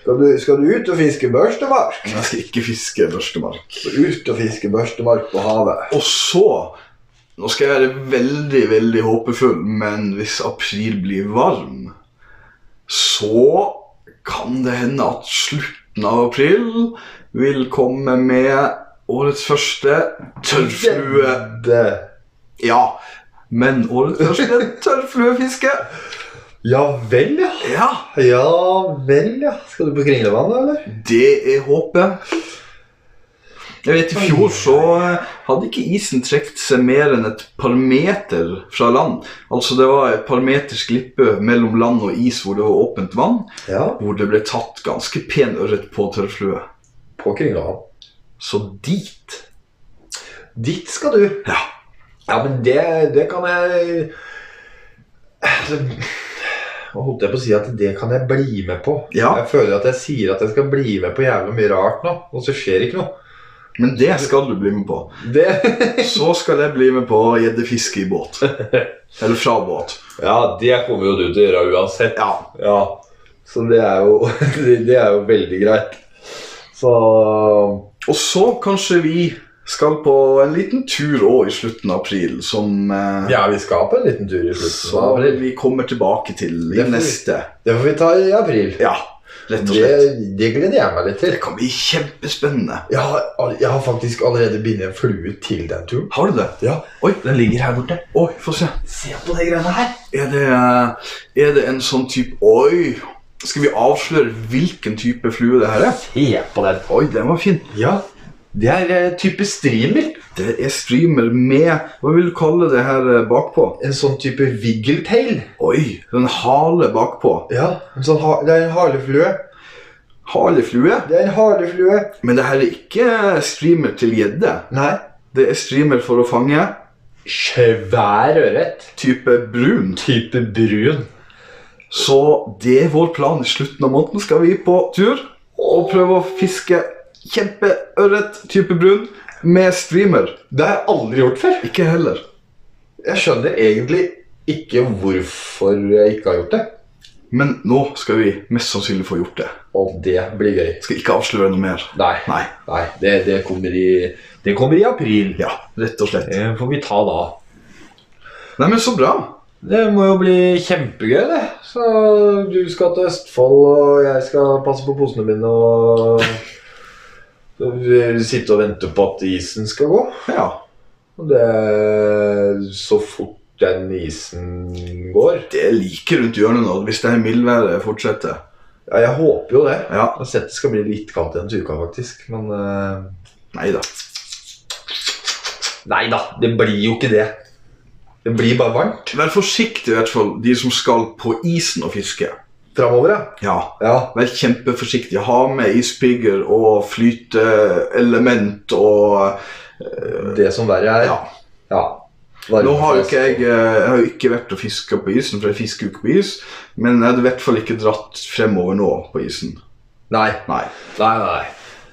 B: Skal du, skal du ut og fiske børstemark?
C: Men Jeg skal ikke fiske børstemark.
B: Ut og fiske børstemark på havet.
C: Og så Nå skal jeg være veldig, veldig håpefull, men hvis april blir varm, så kan det hende at slutten av april vil komme med årets første tørrflue...
B: Det.
C: Ja, men årets første tørrfluefiske.
B: Ja vel, ja.
C: Ja,
B: Ja vel, ja. Skal du på Kringlevannet, eller?
C: det er håpet. Jeg vet, I fjor så eh, hadde ikke isen trukket seg mer enn et par meter fra land. Altså Det var et par meters glippe mellom land og is hvor det var åpent vann,
B: Ja,
C: hvor det ble tatt ganske pen ørret på tørrflue.
B: på Kringlevann.
C: Så dit
B: Dit skal du.
C: Ja.
B: Ja, men det, det kan jeg Altså, Nå holdt jeg på å si at det kan jeg bli med på.
C: ja.
B: Jeg føler at jeg sier at jeg skal bli med på jævlig mye rart nå, og så skjer ikke noe.
C: Men det skal du bli med på.
B: Det
C: Så skal jeg bli med på gjeddefiske i båt. Eller fra båt.
B: Ja, det kommer jo du til å gjøre uansett.
C: Ja.
B: Ja, så det er jo, det er jo veldig greit. Så
C: Og så kanskje vi Skal på en liten tur òg i slutten av april, som eh,
B: Ja, vi skal på en liten tur i slutten av
C: så
B: april.
C: vi kommer tilbake til
B: Det
C: i
B: får vi-
C: neste.
B: Det får vi ta i april.
C: Ja, rett og
B: Det,
C: slett.
B: det gleder jeg meg litt til.
C: Det kan bli kjempespennende.
B: Jeg har, all- jeg har faktisk allerede bindet en flue til den turen.
C: Har du det?
B: Ja.
C: Oi, den ligger her borte. Oi, få se.
B: Se på de greiene her.
C: Er det, eh, er det en sånn type Oi! Skal vi avsløre hvilken type flue det her er?
B: Se på den.
C: Oi, den var fin.
B: Ja. Det er eh, type streamer.
C: Det er streamer med Hva vil du kalle det her eh, bakpå?
B: En sånn type wiggletail.
C: Oi, en hale bakpå.
B: Ja. En sånn ha, det er en haleflue.
C: Haleflue?
B: Det er en haleflue.
C: Men det her er ikke streamer til gjedde.
B: Nei.
C: Det er streamer for å fange
B: Svær ørret.
C: type brun.
B: Type brun.
C: Så det er vår plan. I slutten av måneden skal vi på tur og prøve å fiske kjempeørret type brun med streamer.
B: Det har jeg aldri gjort før.
C: Ikke heller.
B: Jeg skjønner egentlig ikke hvorfor jeg ikke har gjort det.
C: Men nå skal vi mest sannsynlig få gjort det.
B: Og det blir gøy.
C: Skal ikke avsløre noe mer.
B: Nei.
C: Nei.
B: Nei, det, det, kommer, i, det kommer i april.
C: Ja, rett og slett.
B: Det får vi ta da.
C: Nei, men så bra.
B: Det må jo bli kjempegøy, det. Så du skal til Østfold, og jeg skal passe på posene mine og Sitte og vente på at isen skal gå.
C: Ja.
B: Og Det Så fort den isen går.
C: Det er like rundt hjørnet nå, hvis det her mildværet fortsetter.
B: Ja, jeg håper jo det.
C: Ja.
B: Jeg har sett det skal bli litt kaldt igjen til uka, faktisk. Men eh,
C: Nei da.
B: Nei da, det blir jo ikke det. Det blir bare varmt
C: Vær forsiktig, i hvert fall, de som skal på isen og fiske.
B: framover, ja.
C: Ja.
B: ja.
C: Vær kjempeforsiktig. Ha med ispigger og flyteelement og
B: Det som verre er.
C: Ja.
B: ja.
C: Nå har jo ikke jeg, eh, jeg har jo ikke vært og fiska på isen, for jeg fisker jo ikke på is. Men jeg hadde i hvert fall ikke dratt fremover nå på isen.
B: Nei.
C: Nei.
B: Nei, nei.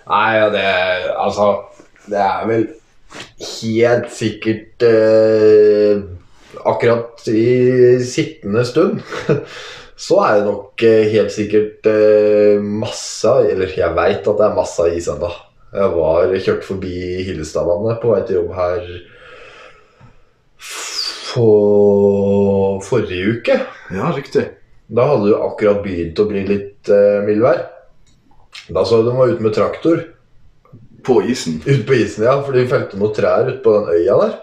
B: Nei, ja, det Altså, det er vel helt sikkert eh, Akkurat i sittende stund så er det nok eh, helt sikkert eh, masse Eller jeg veit at det er masse is ennå. Jeg var kjørt forbi Hillestadvannet på vei til jobb her for, forrige uke.
C: Ja, riktig.
B: Da hadde det akkurat begynt å bli litt eh, mildvær. Da så jeg de var ute med traktor
C: På isen.
B: ute på isen, ja, for de felte noen trær ute på den øya der. Så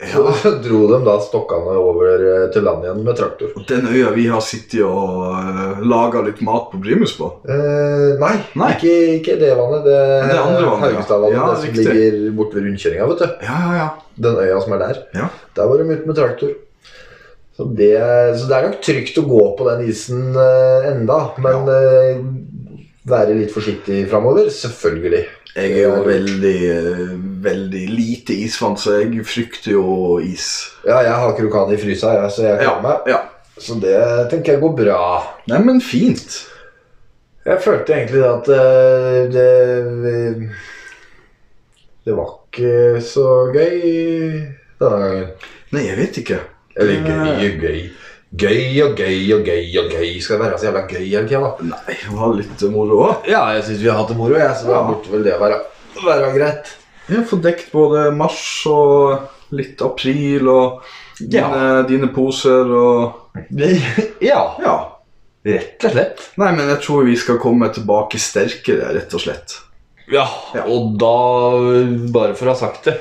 C: Ja.
B: dro de da stokkene over eh, til land igjen med traktor.
C: Den øya vi har sittet og laga litt mat på Primus på.
B: Eh, nei,
C: Nei.
B: Ikke, ikke det vannet. Det,
C: Det andre vannet, ja.
B: Haugstadvannet,
C: Ja,
B: det som
C: riktig.
B: ligger borte ved rundkjøringa, vet du.
C: Ja, ja, ja.
B: Den øya som er der.
C: Ja.
B: Der var de ute med traktor. Så det, så det er nok trygt å gå på den isen eh, enda, men eh, være litt forsiktig framover, selvfølgelig.
C: Jeg er jo veldig, eh, veldig lite isfant, så jeg frykter jo is.
B: Ja, jeg har krokan i frysa, jeg, så jeg klarer meg.
C: ja.
B: Så det tenker jeg går bra.
C: Nei, men fint.
B: Jeg følte egentlig det at eh, det eh, Det var ikke så gøy denne gangen.
C: Nei, jeg vet ikke.
B: Eller gøy og gøy. Gøy og gøy og gøy og gøy. Skal det være så jævla gøy hele tida, da?
C: Nei, det var litt moro òg.
B: Ja, jeg syns vi har hatt det moro, jeg, så da
C: Ja.
B: burde vel det være, være greit.
C: Vi har fått dekt både mars og litt april og dine, dine poser og
B: Ja,
C: Ja.
B: rett og slett.
C: Nei, men jeg tror vi skal komme tilbake sterkere, rett og slett.
B: Ja, og da, bare for å ha sagt det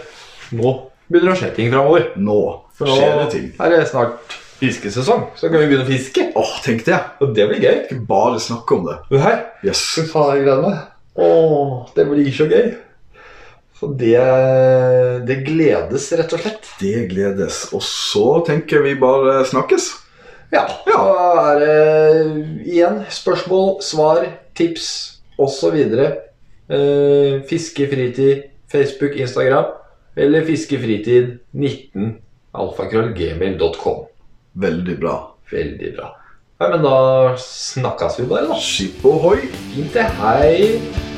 B: Nå begynner det å skje ting framover.
C: Nå
B: For nå
C: skjer det ting.
B: er det snart fiskesesong, så kan vi begynne å fiske.
C: Åh, tenk det.
B: Og det blir gøy.
C: Ikke bare snakke om det.
B: Det her,
C: Yes.
B: fy faen, jeg gleder meg. Åh, det blir så gøy. Så det, det gledes, rett og slett.
C: Det gledes. Og så tenker vi bare snakkes.
B: Ja, så er det igjen spørsmål, svar, tips osv. Eh, fiskefritid, Facebook, Instagram eller fiskefritid19 alfakrøllgmail.com.
C: Veldig bra.
B: Veldig bra. Nei, men da snakkes vi bare, da.
C: Skip ohoi!
B: Fint, det. Hei.